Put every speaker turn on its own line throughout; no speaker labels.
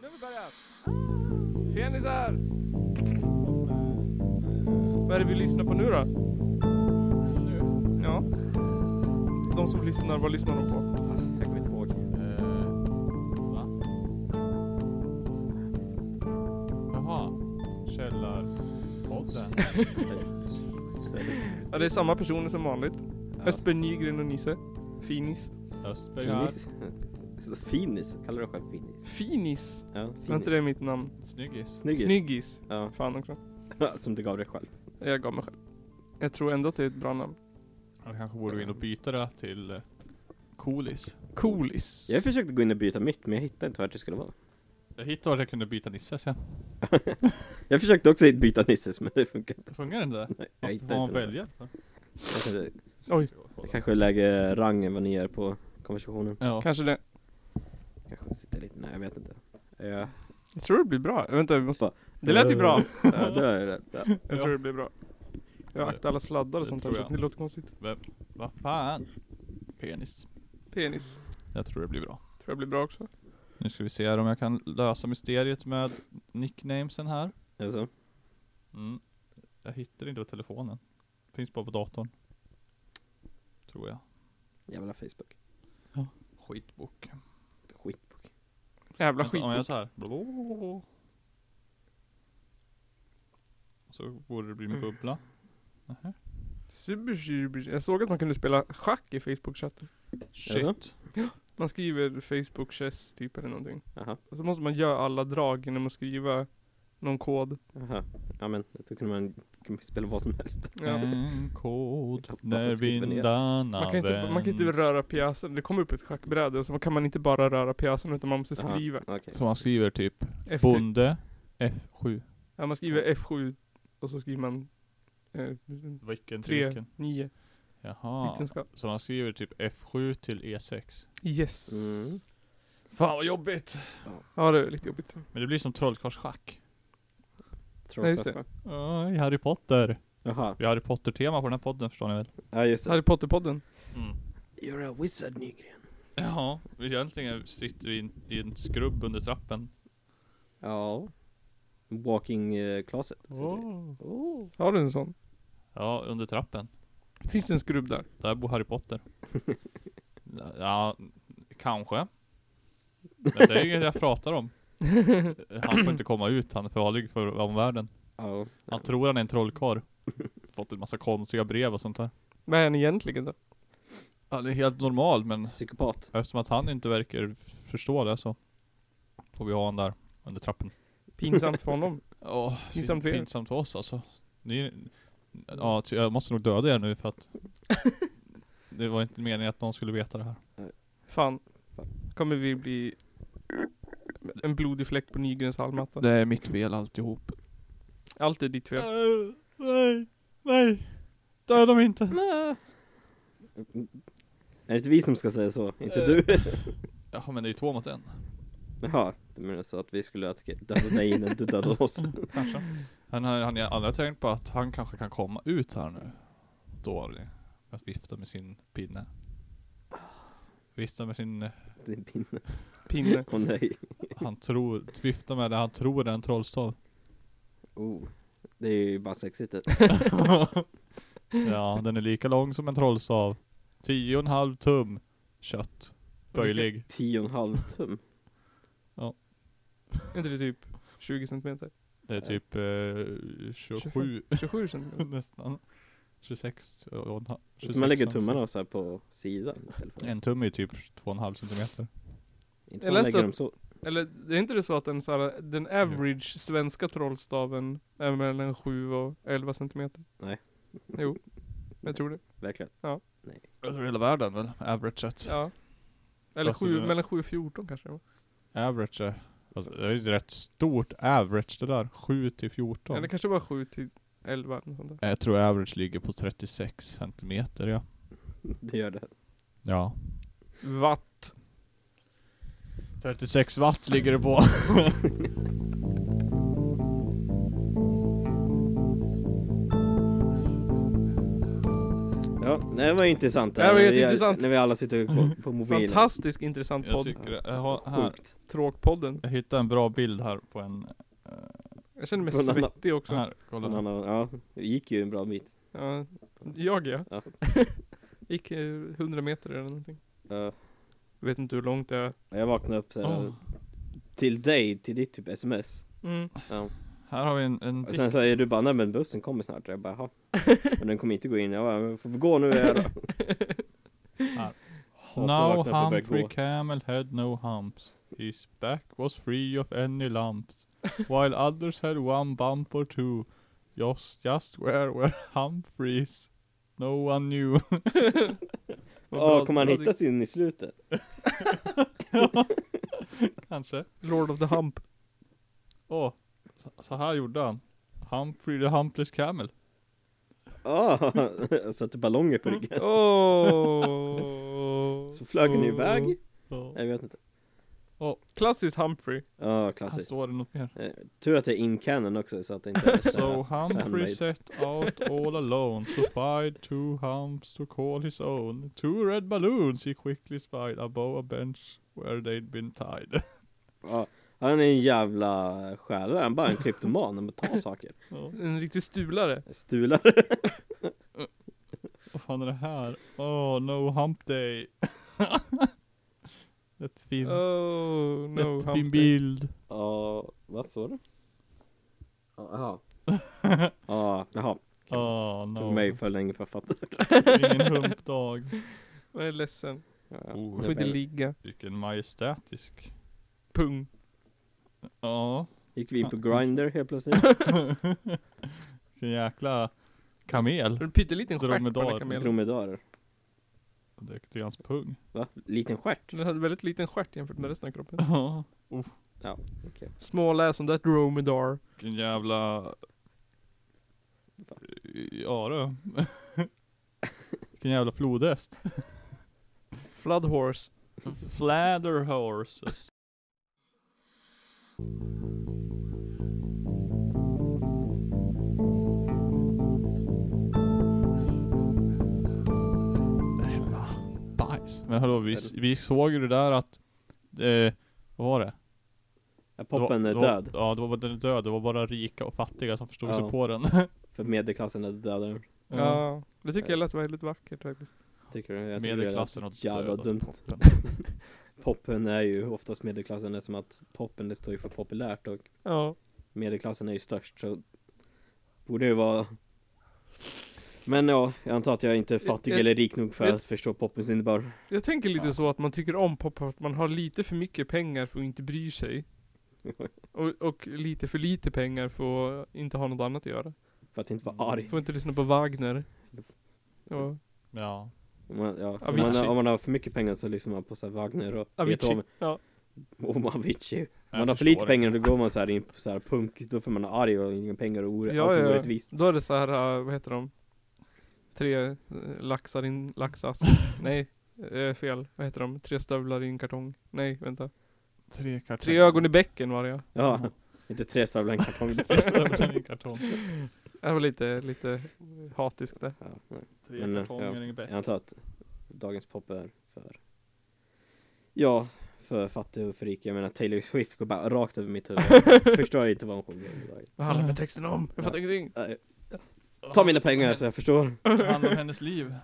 påbörjat! Tjenisar! Vad är det vi lyssnar på nu då? Ja. De som lyssnar, vad lyssnar de på?
Jag kommer inte ihåg.
Eh, Va? Jaha. Källarpodden.
Ja, det är samma personer som vanligt.
Ja.
Östberg Nygren och Nisse. Finis.
Östberg här.
Finis? Så Finis? Kallar du dig själv finis?
Finis!
Ja,
Var
finis.
inte det mitt namn?
Snyggis.
Snyggis.
Snyggis.
Ja,
Fan också.
som du gav dig själv.
Jag gav mig själv. Jag tror ändå att det är ett bra namn.
Jag kanske borde gå in och byta det till eh, Coolis.
Coolis.
Jag försökte gå in och byta mitt, men jag hittade inte vart det skulle vara.
Jag hittade vart jag kunde byta Nisse sen.
Jag försökte också byta Nisses, men det funkar inte.
Fungerar inte det?
Nej, jag
Varför
hittade
får man
inte. Nisses.
välja? för?
Jag kanske-
Oj,
Jag kanske lägger rang än vad ni gör på konversationen.
Ja.
kanske det.
Kanske sitter lite, nej jag vet inte. Ja,
Jag tror det blir bra. Vänta, vi måste... Det lät ju bra.
ja, det är det. Ja.
Jag tror det blir bra. Jag aktar alla sladdar och
Det
sånt här,
tror
så
jag.
att det låter konstigt.
Vad fan? Penis.
Penis.
Jag tror det blir bra.
Tror jag blir bra också.
Nu ska vi se här om jag kan lösa mysteriet med nicknamesen här.
Alltså,
Mm. Jag hittar inte på telefonen. Finns bara på datorn. Tror jag.
jävla Facebook.
Skitbok.
Skitbok.
Jävla
Vänta,
skit.
Om jag gör så här. Blablabla. Så borde det bli en bubbla. Nähä.
Super, super. Jag såg att man kunde spela schack i Facebook-chatten.
Shit.
Man skriver Facebook chess typ eller någonting.
Jaha,
Och så måste man göra alla drag genom att skriva någon kod.
jaha. Ja men, då kunde man kunde man spela vad som helst.
Ja.
En kod
Pappa
när
skriver ner.
vindarna
Man kan, inte, man kan inte
vänds.
röra pjäsen, det kom upp ett schackbräde och så kan man inte bara röra pjäsen utan man måste
Aha.
skriva.
Okej.
Så man skriver typ
Efter,
Bonde F7.
ja, man skriver F7 och så skriver man eh,
Vilken
3, 9,
Jaha.
äktenskap.
Så man skriver typ F7 till E E6.
Yes.
Mm.
Fan vad jobbigt!
Ja det är lite jobbigt.
Men det blir som trollkarlsschack.
Ja, just det.
Trollkarlsschack.
Ja, i Harry Potter.
Jaha,
Vi har Harry Potter-tema på den här podden förstår ni väl?
ja just det.
Harry Potter-podden.
You're a wizard Nygren.
Ja, egentligen sitter vi i en- i en skrubb under trappen.
Ja. Walking eh, closet. sitter vi.
Oh. Har du en sån?
Ja, under trappen.
Finns det en skrubb där?
Där bor Harry Potter. ja, kanske. Men det är inget jag pratar om. Han får inte komma ut, han är för farlig för omvärlden.
Ja.
Han tror han är en trollkarl. Fått en massa konstiga brev och sånt där.
Vad är han egentligen då?
Han är helt normal men
Psykopat.
eftersom att han inte verkar förstå det så får vi ha honom där under trappen.
Pinsamt för honom.
Ja,
Pinsamt för er.
pinsamt för oss alltså. Ni, ja, ty- jag måste nog döda er nu för att det var inte meningen att någon skulle veta det här.
Fan.
Fan.
Kommer vi bli en blodig fläck på Nygrens hallmatta.
Det är mitt fel alltihop.
Allt är ditt fel.
nej, nej. Döda mig inte.
Är det inte vi som ska säga så? Inte du?
Ja men det är ju två mot en.
Jaha, du menar så att vi skulle attackera- döda dig innan du dödade oss?
Kanske. Han, han, han, han har tänkt på att han kanske kan komma ut här nu. Dålig. Att vifta med sin pinne. Vifta med sin, eh,
Din pinne.
Pinne.
Åh nej.
han tror, vifta med det han tror är en trollstav.
Oh. Det är ju bara sexigt det.
ja, den är lika lång som en trollstav. Tio och en halv tum kött. Böjlig.
Tio och en halv tum.
Är inte det typ 20 centimeter?
Det är typ eh, 27
27 centimeter?
nästan. 26 och en halv. 26
Man lägger
centimeter.
tummarna så här på sidan istället för.
En tum är ju typ två och en halv centimeter.
Inte
Jag
man
läste
lägger
att-
dem så.
Eller det är inte det så att den, så här, den average svenska trollstaven är mellan 7 och 11 centimeter?
Nej.
Jo. Jag tror det.
Verkligen.
Över hela världen väl? Average sett.
Ja. Eller
Fast
sju,
det-
mellan 7 och 14 kanske det var.
Average är, alltså, det är ju ett rätt stort average det där. 7 till 14.
Eller kanske bara 7 till 11 eller något sånt där.
Jag tror average ligger på 36 centimeter ja.
Det gör det.
Ja.
Watt.
36 watt ligger det på.
Ja, det var intressant.
Det
här,
var
när vi-
jätteintressant.
När vi alla sitter på, på mobilen.
Fantastisk intressant
Jag
podd.
tycker det. Jag, har, här,
Sjukt.
Tråkpodden.
jag hittade en bra bild här på en... eh,
Jag känner mig
Från annan-
svettig också.
Här, kolla.
Men han har- Ja, det gick ju en bra bit.
Ja, jag ja.
Ja.
Gick eh, 100 meter eller någonting.
Ja,
Jag vet inte hur långt det är.
jag vaknade upp så här,
Åh,
till dig, till ditt typ sms.
Mm.
Ja.
här har vi en, en
Och
dikt.
sen säger du bara, nej men bussen kommer snart. Jag bara, jaha. Men den kommer inte gå in. Jag bara, men får vi gå nu? Jag bara, Hatar att
Now
vakna upp och börja
Humphrey
gå.
Camel had no humps. His back was free of any lumps. While others had one bump or two. Just, just where were Humphreys? No one knew.
Vad
Ja,
bra-
kommer han
bra
hitta sin i slutet?
Kanske.
Lord of the Hump.
Åh, så, så här gjorde han. Humphrey the Humpless Camel.
Ja, jag satte ballonger på ryggen.
Oh.
Så flög den
Oh.
iväg.
Ja.
Jag vet inte.
Klassiskt Humphrey.
Ja,
Här
klassiskt.
står det något mer.
Eh, Tur att det är in canon också så att det inte är
So
så
Humphrey
fan-made.
set out all alone to find two humps to call his own. Two red balloons he quickly spied above a bench where they'd been tied.
Ja, han är en jävla stjälare, han är bara en kryptoman, han bara tar saker.
Ja,
En riktig stulare.
Stulare.
Vad fan är det här? Oh no hump day. Jättefin.
Oh no Hump.
Jättefin
Day.
bild.
Ja, vad sa du? Ja, Jaha. Ja, jaha.
Oh no.
Tog mig för länge för att fatta.
Ingen humpdag.
Jag är ledsen.
Ja,
Oh.
Jag får inte
det-
ligga.
Vilken majestätisk.
Pung.
Ja.
Gick vi in på Grindr helt plötsligt?
Vilken jäkla kamel.
Har du en pytteliten stjärt på den
Dromedar.
här kamelen?
Dromedarer.
Det är hans pung.
Va? Liten stjärt?
Den hade väldigt liten stjärt jämfört med resten av kroppen.
Ja.
Small ass on that dromedar.
Vilken jävla... Ja du. Vilken jävla flodhäst.
Flood horse.
Flather horses. Nej, men va? Bajs. Men hallå, vi, vi såg ju det där att... Eh, vad var det?
Ja,
Det var-
poppen är
det var-
död.
Ja, det var, den är död. Det var bara rika och fattiga som förstod sig
Ja.
på den.
För medelklassen är död.
Ja. Det tycker jag lät väldigt vackert faktiskt.
Tycker du? Jag tycker det
Medelklassen
är
och
jävla
död,
dumt.
alltså, toppen.
Poppen är ju oftast medelklassen eftersom att poppen det står ju för populärt och
Ja.
medelklassen är ju störst så borde ju vara men ja, jag antar att jag inte är fattig
Jag-
eller rik nog för
jag-
att förstå poppens innebörd.
Jag tänker lite så att man tycker om pop för att man har lite för mycket pengar för att inte bry sig. Och, och lite för lite pengar för att inte ha något annat att göra.
För att inte vara arg.
Får inte lyssna på Wagner. Ja.
Ja.
Om man, ja, så om, man,
Avicii.
om man har för mycket pengar så lyssnar man på så här Wagner och
Avicii. Ja.
och om Avicii. Om
Jag
man har för
förstår
lite
det.
pengar då går man så här in på så här punk, då får man vara arg och inga pengar och ore-
Ja,
allting
ja.
orättvist.
Då är det så här, eh, vad heter de? Tre eh, laxar i en laxask. Nej, eh, fel. Vad heter de? Tre stövlar i en kartong. Nej, vänta.
Tre kartonger.
Tre ögon i bäcken var det ja.
Ja, inte tre stövlar i en kartong.
Tre stövlar i en kartong.
Det var lite, lite hatisk där.
Ja, nej.
Tre
Men,
kartonger i en
jag
bäck.
antar att dagens pop är för Ja, för fattig och för rik. Jag menar Taylor Swift går bara rakt över mitt huvud. Jag förstår inte vad hon sjunger om idag.
Vad handlar den här texten om? Jag fattar ingenting.
Nej, Ta mina pengar så jag förstår.
Det handlar om hennes liv.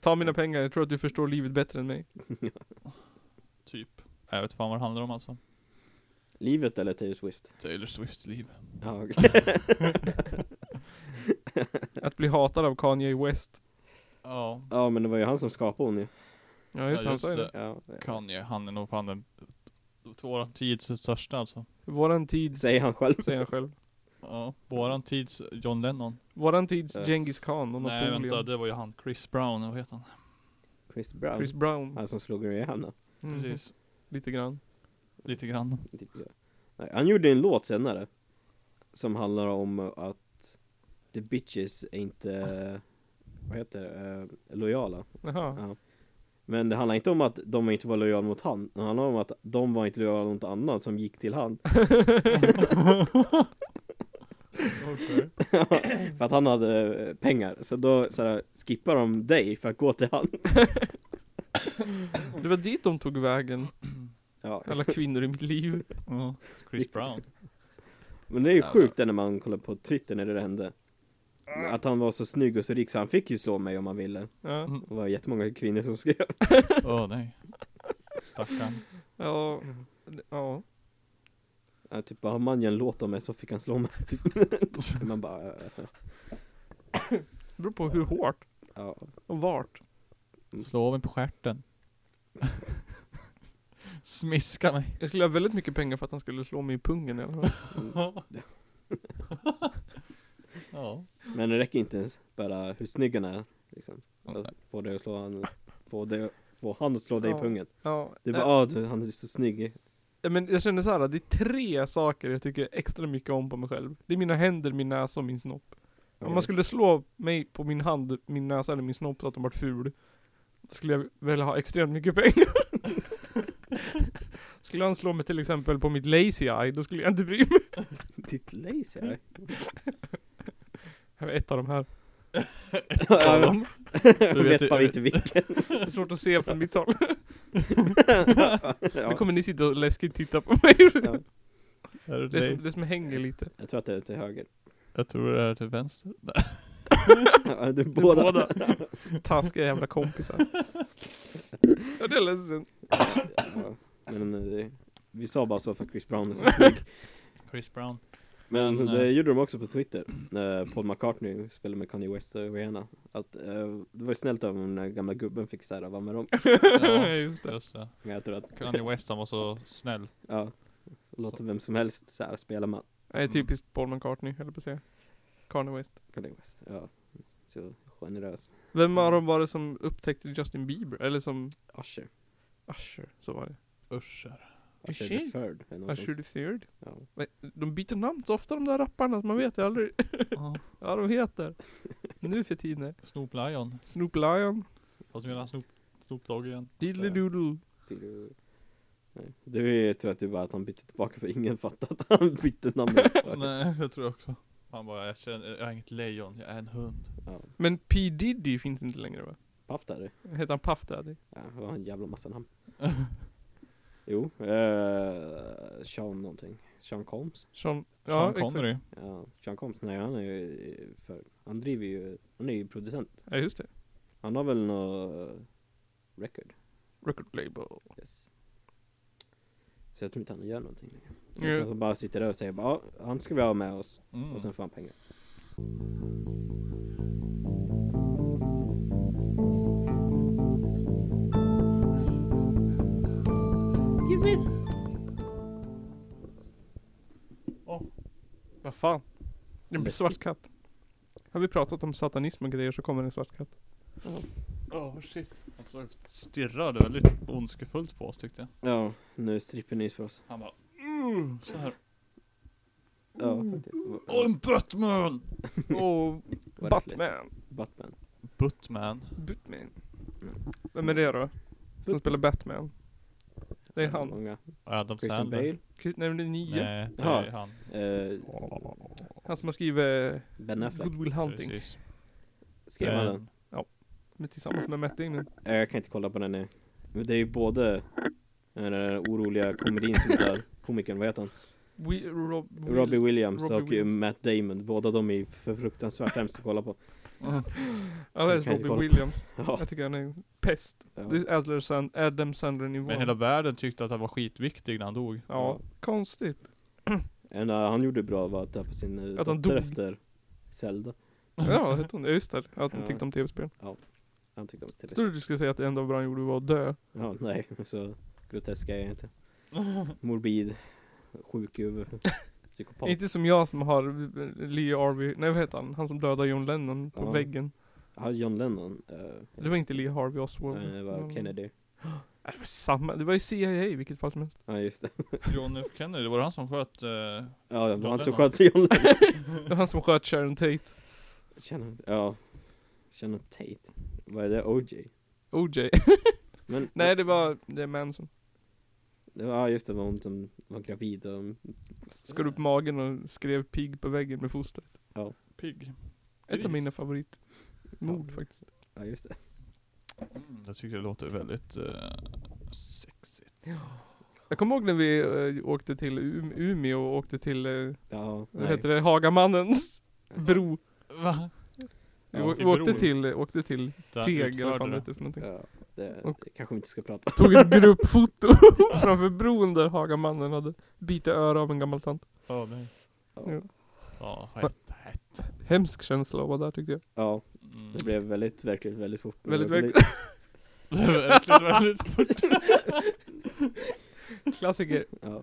Ta mina pengar, jag tror att du förstår livet bättre än mig.
Typ. Jag vet fan vad det handlar om alltså.
Livet eller Taylor Swift?
Taylor Swifts liv.
Ja, okej.
Att bli hatad av Kanye West.
Ja.
ja men det var ju han som skapade hon ju.
Ja just, det, han sa ju det.
Ja, det-
Kanye, han är nog fan den våran tids största alltså.
Våran tids,
Säger han själv.
säger han själv.
Ja. Våran tids John Lennon.
Våran tids
Eh.
Genghis Khan och
Nej vänta,
Napoleon.
det var ju han. Chris Brown, vad heter han?
Chris Brown.
Chris Brown.
Han som slog ur i henne.
Mm.
Precis.
Lite grann.
Lite grann.
typ, Nej, Han gjorde en låt senare. Som handlar om att the bitches är inte, vad heter det, eh, lojala.
Jaha.
Ja. Men det handlar inte om att de inte var lojala mot han. Det handlar om att de var inte lojala mot annan som gick till han.
Okej.
för att han hade eh, pengar. Så då så här, skippar de dig för att gå till han.
Det var dit de tog vägen,
Ja.
alla kvinnor i mitt liv.
Ja, Chris Brown.
Men det är ju sjukt det när man kollar på Twitter när det hände. Att han var så snygg och så rik så han fick ju slå mig om han ville.
Ja,
Det var jättemånga kvinnor som skrev.
Åh nej. Stackarn.
ja, ja.
Ja, typ bara, har Manjan låt om mig så fick han slå mig. Typ. Man bara, eh,
Det beror på hur hårt
ja.
och vart.
Slå mig på stjärten. Smiska mig.
Jag skulle ha väldigt mycket pengar för att han skulle slå mig i pungen i alla fall.
Ja.
Men det räcker inte ens bara hur snygg han är. Liksom.
Nej.
Att få dig att slå han, få, dig, få han att slå dig
Ja.
i pungen.
Ja,
Det är
eh,
bara, ah, du, han är så snygg.
Ja, men jag känner så här, det är tre saker jag tycker extra mycket om på mig själv. Det är mina händer, min näsa och min snopp. Om man skulle slå mig på min hand, min näsa eller min snopp så att de vart ful. då Skulle jag väl ha extremt mycket pengar. skulle han slå mig till exempel på mitt lazy eye, då skulle jag inte bry mig.
Ditt lazy eye.
Jag var ett av de här.
Jag
Du vet-
vet bara inte vilken.
Det är svårt att se från mitt håll. Nu
Ja,
kommer ni sitta och läskigt titta på mig.
ja.
Är
Det är
det dig?
som, det är som hänger lite.
Jag tror att det är till höger.
Jag tror det är till vänster.
Ja, det är
Det är
båda.
Båda. Taskiga jävla kompisar. Ja, det är ledsen.
Ja, men eh, det, vi sa bara så för att Chris Brown är så snygg.
Chris Brown.
Men
Men,
det
eh,
gjorde de också på Twitter när Paul McCartney spelade med Kanye West och Rihanna Att eh, det var snällt av den där gamla gubben fick så här, vara med dem
Ja, just det.
Just det.
Men jag tror att,
Kanye West han var så snäll.
ja Låter vem som helst så här, spela med
Nej, typiskt Paul McCartney, höll jag på att säga. Kanye West.
Kanye West, ja Så generös
Vem av dem var det som upptäckte Justin Bieber? Eller som
Usher
Usher, så var det.
Usher.
Usher
Usher?
the third eller något
Usher
sånt.
the third.
Ja.
Nej, De byter namn så ofta de där rapparna, så man vet ju aldrig vad de heter. Nu för tiden.
Snoop Lion.
Snoop Lion,
Fast nu är han Snoop, Snoop Dogg igen.
Diddly-Doodle.
Till du- Nej. Du tror att du bara att han bytte tillbaka för ingen fattade att han bytte namn överhuvudtaget.
Nej, jag tror också. Han bara, jag, känner, jag är inget lejon, jag är en hund.
ja.
Men P Diddy finns inte längre va?
Paff där
Heter han Puff Daddy?
Ja, det var en jävla massa namn Jo, eh, Sean någonting Sean Combs
Sean,
Sean
exakt.
Connery.
Ja, Sean Combs, nej han är ju för, han driver ju, han är ju producent.
Ja just det.
Han har väl något record,
Record label.
yes. Så jag tror inte han gör någonting längre.
Ja.
Jag tror att han bara sitter där och säger bara, "Ja, han ska vi ha med oss
Mm.
och sen får han pengar.
Åh,
Vad fan? Det blir
Läskigt.
svart katt. Har vi pratat om satanism och grejer så kommer en svart katt.
åh, shit. Han såg stirrade väldigt ondskefullt på oss tyckte jag.
Ja, nu stripper ni för oss.
Han bara, mm, så här.
Ja,
Mm.
faktiskt.
Åh, en Batman!
Och
Vad är det för
Batman.
Batman.
Buttman.
Batman. Vem är det då? Som spelar Batman? Det är han.
Många.
Adam
Christian
Sandler.
Bale.
Chris- Nej men det är nio.
Nej, det
Jaha.
är han.
Eh,
Han som har skrivit eh,
ben Affleck.
Good Will Hunting.
Precis.
Skrev han
Eh,
den?
Med, tillsammans med Matt Damon.
Eh, Jag kan inte kolla på den nu. Men det är ju både den där oroliga komedin som är där, komikern, vad heter han?
We, Rob, Will-
Robbie Williams
Robbie
och um,
Williams.
Matt Damon, båda de är ju för fruktansvärt hemskt att kolla på
Ja det är
Jag kan inte kolla på-
Robbie Williams.
Ja,
Jag tycker han är en pest. Det
ja.
är Adler Sand, Adam Sandler nivå.
Men hela världen tyckte att han var skitviktig när han dog.
Ja, konstigt.
En, eh, han gjorde bra var att döpa sin eh,
Att han
dotter
dog.
efter Zelda
Ja, hette hon det? Ja, Just det. Att hon
Ja.
tyckte om tv-spel.
Han tyckte om
Jag
det
trodde du skulle säga att det enda bra han gjorde var att dö.
Ja, nej, så grotesk är jag inte Morbid, sjuk i huvudet, psykopat
Inte som jag som har Leo Harvey, nej vad heter han? Han som dödade John Lennon på
Ja.
väggen.
Ja, John Lennon, eh,
Det var inte Lee Harvey Oswald.
nej, det var
Men-
Kennedy
Nej, Äh, det var samma, det var ju CIA i vilket fall som helst.
Ja just det,
John F Kennedy, det var han som sköt eh,
ja det
John
var han som
Lennon.
sköt John Lennon
Det var han som sköt Sharon Tate.
Känner inte, ja Känner Tate, vad är det, OJ?
OJ.
Men,
nej det var, det är Manson.
Det var, ja just det, var hon som var gravid och
Skar upp magen och skrev pigg på väggen med fostret.
Pigg.
Ett av
Gris.
mina favoritmord faktiskt.
Ja just det.
Mm, jag tycker det låter väldigt eh, sexigt.
Jag kommer ihåg när vi eh, åkte till U- Umeå och åkte till, eh,
Ja,
vad heter det, Hagamannens bro.
Va?
Vi,
Ja,
å- vi
till
åkte,
bron.
till, eh, åkte till
Där
Teg eller vad fan det
utförde det.
heter för någonting.
Ja, det,
Och-
det kanske vi inte ska prata om.
Tog ett gruppfoto framför bron där Hagamannen hade bitit öra av en gammal tant.
Ja, nej.
Ja.
Ja, vad fett.
Hemsk känsla att vara där tyckte jag.
Ja,
Mm.
det blev väldigt verkligt väldigt fort.
Väldigt
Det blev-
Det är verkligen väldigt fort.
Klassiker.
Ja,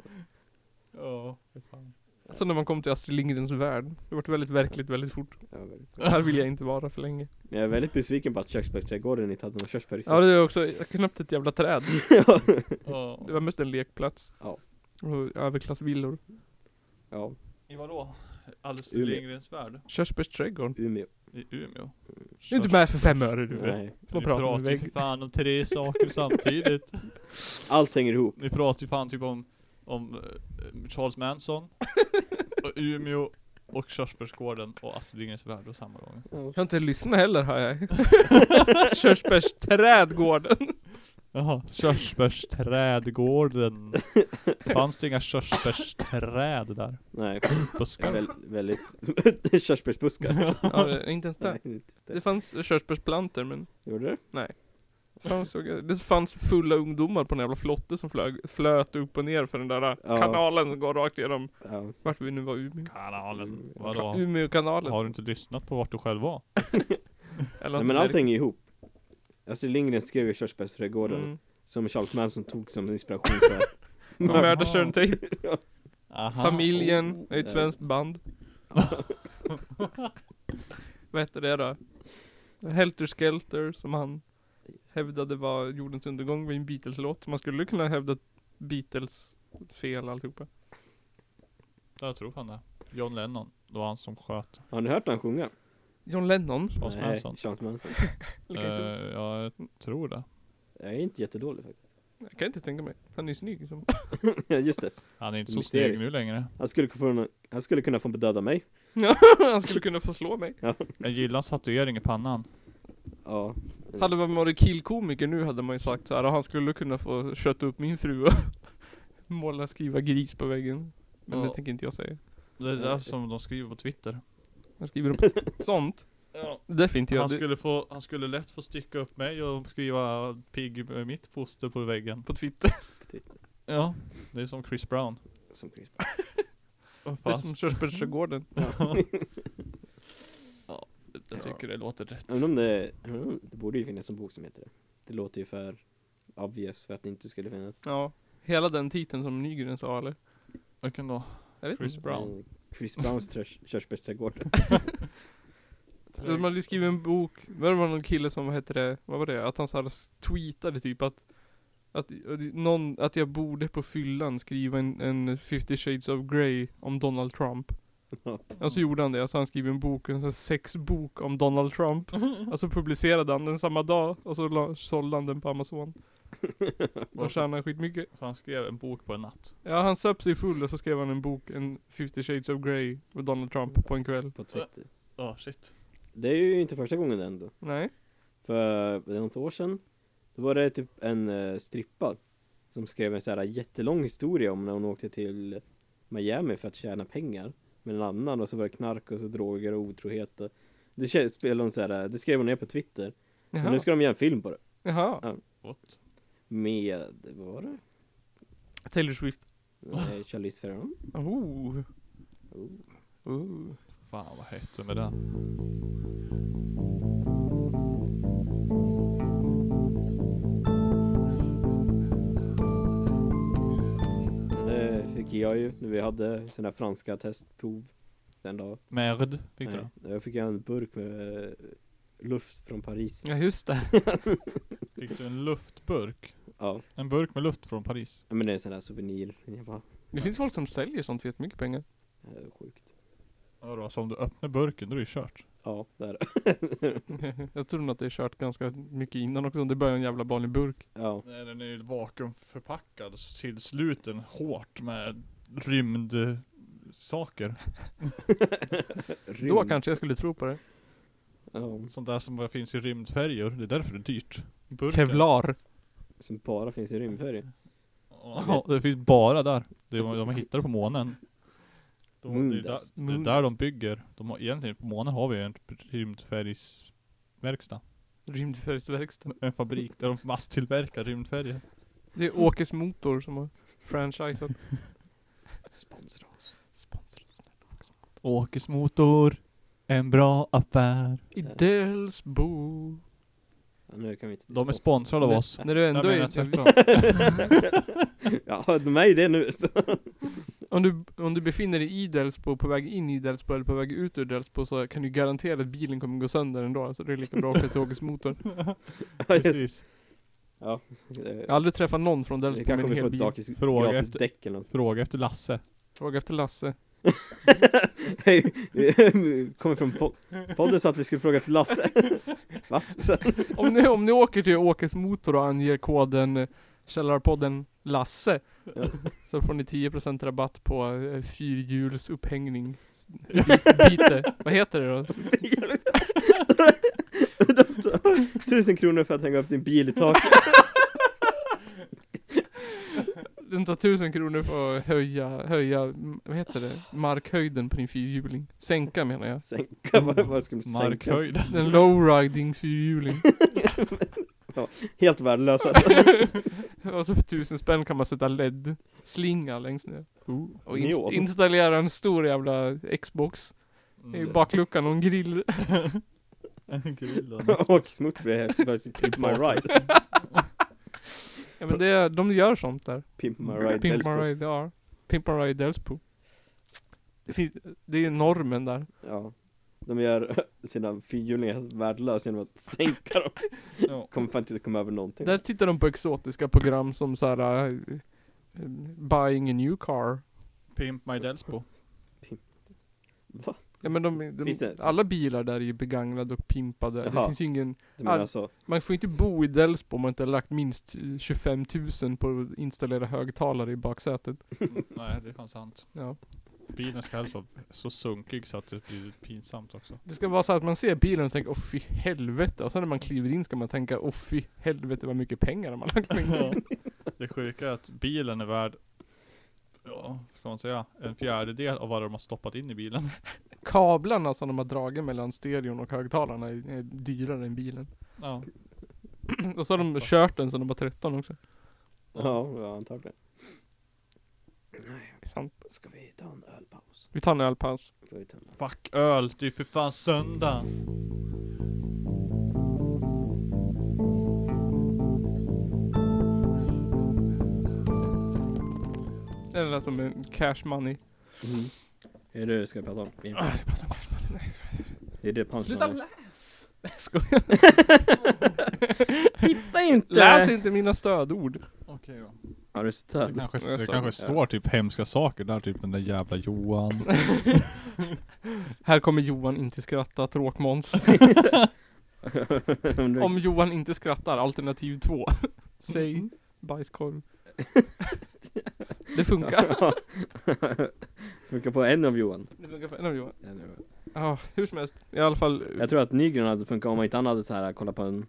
Ja, fy fan.
Så när man kom till Astrid Lindgrens värld. Det vart väldigt verkligt väldigt fort.
ja, väldigt.
Här vill jag inte vara för länge.
Men jag är väldigt besviken på att köksbärsträdgården inte hade någon
Ja
köksbärsträdgård.
det är också knappt ett jävla träd.
Ja.
Det var mest en lekplats.
Ja.
Och överklassvillor.
Ja,
I vadå? Alice
Umeå.
Lindgrens värld?
Körsbärsträdgården.
Umeå.
I Umeå?
Du är inte med för fem öre du.
Nej.
Som
Ni
att prata med
pratar ju
vägg.
för fan om tre saker samtidigt.
Allt hänger ihop.
Ni pratar ju fan typ om, om eh, Charles Manson, och Umeå, och Körsbärsgården och Astrid Lindgrens värld och samma gång.
Jag har inte lyssnat heller har jag. Körsbärsträdgården.
Jaha, körsbärsträdgården. Fanns det inga körsbärsträd där?
Nej,
Buskar?
väl, väldigt körsbärsbuskar.
Ja, det är inte ens där.
Nej, inte just
Det
det.
fanns körsbärsplanter men
Gjorde det?
fanns, det fanns fulla ungdomar på en jävla flotte som flög, flöt upp och ner för den där
Ja.
kanalen som går rakt igenom
Ja.
vart vi nu var Umeå.
Kanalen. Vadå?
Umeåkanalen.
Har du inte lyssnat på vart du själv var?
Eller
Nej,
att
men
det
allt
är-
hänger ihop. Astrid Lindgren skrev ju Körsbärsträdgården,
Mm.
som Charles Manson tog som inspiration för Mm.
Och Murder Sharon Tate.
Aha.
typ. Familjen är
Ja.
ett svenskt band. Vad heter det då? Helter Skelter som han hävdade var jordens undergång var ju en Beatles-låt. Man skulle kunna hävda Beatles fel alltihopa.
Jag tror fan det. John Lennon. Det var han som sköt
Har ni hört han sjunga?
John Lennon.
Charles
Nej,
Manson.
Charles Manson.
Jag kan, inte,
Eh, jag tror det.
Jag är inte jättedålig faktiskt.
jag kan inte tänka mig. Han är ju snygg. liksom. Som.
Ja, just det.
Han är inte så
Mysterisk.
snygg nu längre.
Han skulle, kunna få någon, han skulle kunna få bedöda mig.
han skulle kunna få slå mig.
Jag gillar hans tatuering i pannan.
Ja.
Hade man varit killkomiker nu hade man ju sagt så här, "Ah, han skulle kunna få köta upp min fru och måla, skriva gris på väggen. Men det
Ja.
tänker inte jag säga.
Det är det som de skriver på Twitter.
Jag skriver upp sånt. Det får inte jag.
Han
Det,
skulle, få, han skulle lätt få sticka upp mig och skriva pigg med mitt foster på väggen.
på Twitter.
Ja, det är som Chris Brown.
Typ, Som Chris
Det är
Fast,
som körsbärsträdgården.
ja, jag tycker det låter rätt.
Även om det, mm, det borde ju finnas en bok som heter det. Det låter ju för obvious för att det inte skulle finnas.
Ja. Hela den titeln som Nygren sa eller?
Vilken då?
Jag vet
Chris
inte.
Brown.
Eh, Chris Browns törs- körsbärsträdgård.
De hade ju skrivit Alltså, en bok, var det var någon kille som, vad hette det, vad var det? Att han så här tweetade typ att att, någon, att jag borde på fyllan skriva en, en 50 shades of grey om Donald Trump. Och så gjorde han det, alltså han skrev en bok, en sån här sexbok om Donald Trump. Och så publicerade han den samma dag, och så la, sålde han den på Amazon. Och tjänade skitmycket.
Så han skrev en bok på en natt.
Ja, han söp sig full och så skrev han en bok, en 50 shades of grey med Donald Trump på en kväll.
På Twitter.
Ja, shit.
Det är ju inte första gången det ändå.
Nej.
För det är något år sedan Då var det typ en eh, strippa Som skrev en så här jättelång historia om när hon åkte till Miami för att tjäna pengar Med en annan och så var det knark och så droger och otrohet och det, kä- spelade hon så här, det skrev hon ner på Twitter Men
Jaha.
nu ska de göra en film på det
Jaha.
What?
Med, vad var det?
Taylor Swift.
Nej, Charlize Theron?
Oh.
Oh.
Oh.
Fan vad hett du med den.
Det fick jag ju när vi hade sådana här franska testprov Den dagen
Märd, fick du
Nej,
den?
Jag fick en burk med eh, luft från Paris
Ja just det.
Fick du en luftburk?
Ja,
En burk med luft från Paris.
Ja, men det är en sån här souvenir Jag bara,
Det finns folk som säljer sånt för jättemycket pengar.
eh, sjukt
Ja, då, så om du öppnar burken då är det ju kört.
Ja, det är det.
Jag tror nog att det är kört ganska mycket innan också. Det börjar en jävla barn i burk.
Ja.
Nej, den är ju vakuumförpackad så tillsluten hårt med rymdsaker.
Då
Rymd.
kanske jag skulle tro på det.
Ja,
Sånt där som bara finns i rymdfärjor. Det är därför det är dyrt. Burken.
Kevlar.
som bara finns i rymdfärg.
Ja, det finns bara där. Det är vad de hittar på månen. De, det, är där,
Moondust.
det är där de bygger. De har, egentligen på månen har vi en rymdfärgsverkstad.
Rymdfärgsverkstad.
En fabrik där de masstillverkar rymdfärger.
Det är Åkes Motor som har franchisat.
Sponsra oss.
Sponsrat.
Åkes motor, en bra affär.
I Delsbo.
Ja, nu kan vi inte bli
De är sponsrade
sponsrade.
av oss.
När du ändå
Nej, men
är...
tvärtom.
Ja, de är ju det nu. Så.
Om du, om du befinner dig i Delsbo, på väg in i Delsbo eller på väg ut ur Delsbo så kan du garantera att bilen kommer gå sönder ändå. Så det är lika bra att åka till Åkes Motor.
Ja, just
Precis.
det.
Jag har aldrig träffat någon från
Eh, Det
Delsbo med
kanske
en
vi får
hel
ett
bil.
gratis,
Fråga
gratis
efter-
däck eller något.
Fråga efter Lasse.
Fråga efter Lasse.
Hej, vi kommer från po podden så att vi skulle fråga efter Lasse. Va? Så,
Om ni, om ni åker till Åkes Motor och anger koden eh, Källarpodden Lasse
Ja.
Så får ni 10% rabatt på eh, fyrhjulsupphängning Byte, vad heter det då?
tusen kronor för att hänga upp din bil i taket.
Den tar 1000 kronor för att höja, höja, mm, vad heter det? Markhöjden på din fyrhjuling Sänka menar jag
Sänka, vad, vad ska man sänka?
Markhöjden.
Den lowriding fyrhjuling
Helt värdelös alltså.
Och så för 1000 spänn kan man sätta LED-slinga längst ner Och
Neon.
inst- installera en stor jävla Xbox i
Mm.
bakluckan och en grill
En grill och
Och smutt blir helt plötsligt Pimp My Ride.
Ja men det, är- de gör sånt där
Pimp My Ride
Pimp
Delsbo.
My Ride, ja. Pimp My Ride Delsbo. Det, finns, det är ju normen där.
Ja. De gör sina fyrhjulingar helt värdelösa genom att sänka dem.
Ja.
Kommer fan inte komma över någonting.
Där tittar de på exotiska program som såhär uh, Buying a new car.
Pimp My Delsbo.
Va?
Ja men de, de,
Finns det?
alla bilar där är ju begagnade och pimpade. Det
Jaha.
finns ju ingen,
Du menar
All-
så?
man får ju inte bo i Delsbo om man inte har lagt minst eh, 25 000 på att installera högtalare i baksätet.
Mm, Nej, det är fan sant.
Ja.
Bilen ska helst vara så sunkig så att det blir pinsamt också.
Det ska vara så att man ser bilen och tänker åh fy helvete. Och sen när man kliver in ska man tänka åh fy helvete vad mycket pengar de har lagt ner.
Det sjuka är att bilen är värd, ja, ska man säga, en fjärdedel av vad de har stoppat in i bilen.
kablarna som de har dragit mellan stereon och högtalarna är, är dyrare än bilen.
Ja.
och så har de kört den sedan de var 13 också.
Ja, ja antagligen. Nej,
Det är sant.
ska vi ta en ölpaus?
Vi tar en ölpaus.
Får vi ta en-
Fuck öl, det är för fan söndag.
Det lät som en cash money.
Är det det du ska prata om?
Ah, jag ska prata om cash money. Nej,
Det är det punchen
sluta
är.
läs! Jag skojar.
Titta inte!
Läs inte mina stödord.
Okej då.
Har du
Det
stöd?
kanske,
Jag
det
står-
kanske står typ hemska saker där, typ den där jävla Johan.
Här kommer Johan inte skratta, tråkmåns. Om Johan inte skrattar, alternativ två.
Mm.
Säg bajskorv. Det funkar.
Funkar på en av Johan.
Det funkar för en av Johan. Ja, hur som helst. I alla fall, eh,
Jag tror att Nygren hade funkat om inte han hade så här kolla på en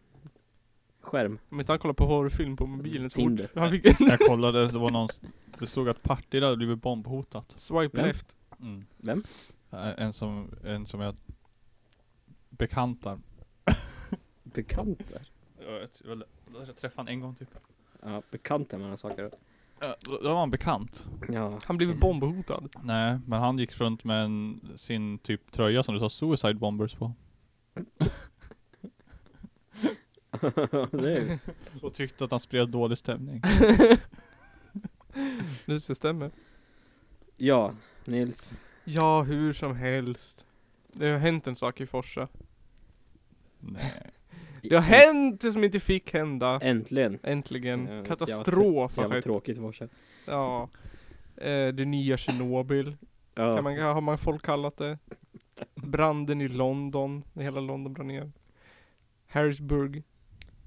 skärm.
om inte han kollar på horrorfilm på mobilen så fort.
Tinder.
Han fick en
Jag kollade, det var någon, det stod att Partille hade blivit bombhotat.
swipe
Vem?
left.
Mm.
Vem?
Eh, En som, en som jag bekantar.
Bekanter?
Jag, vet- jag, jag träffade honom en gång typ.
Ja, bekanta med saker.
Eh, Då då var han bekant.
Ja.
Han blev bombhotad.
Nej, men han gick runt med en, sin typ tröja som det sa Suicide Bombers på.
det är ju-
Och tyckte att han spred dålig stämning.
Det stämmer.
Ja, Nils.
Ja, hur som helst. Det har hänt en sak i Forsa.
Nej.
Det har hänt det som inte fick hända.
Äntligen.
Äntligen.
Ja,
Katastrof
Så
har
jävla
skett.
tråkigt för oss.
Ja. Eh, Det nya Tjernobyl.
Ja.
Kan man, har man folk kallat det. branden i London, när hela London brann ner. Harrisburg.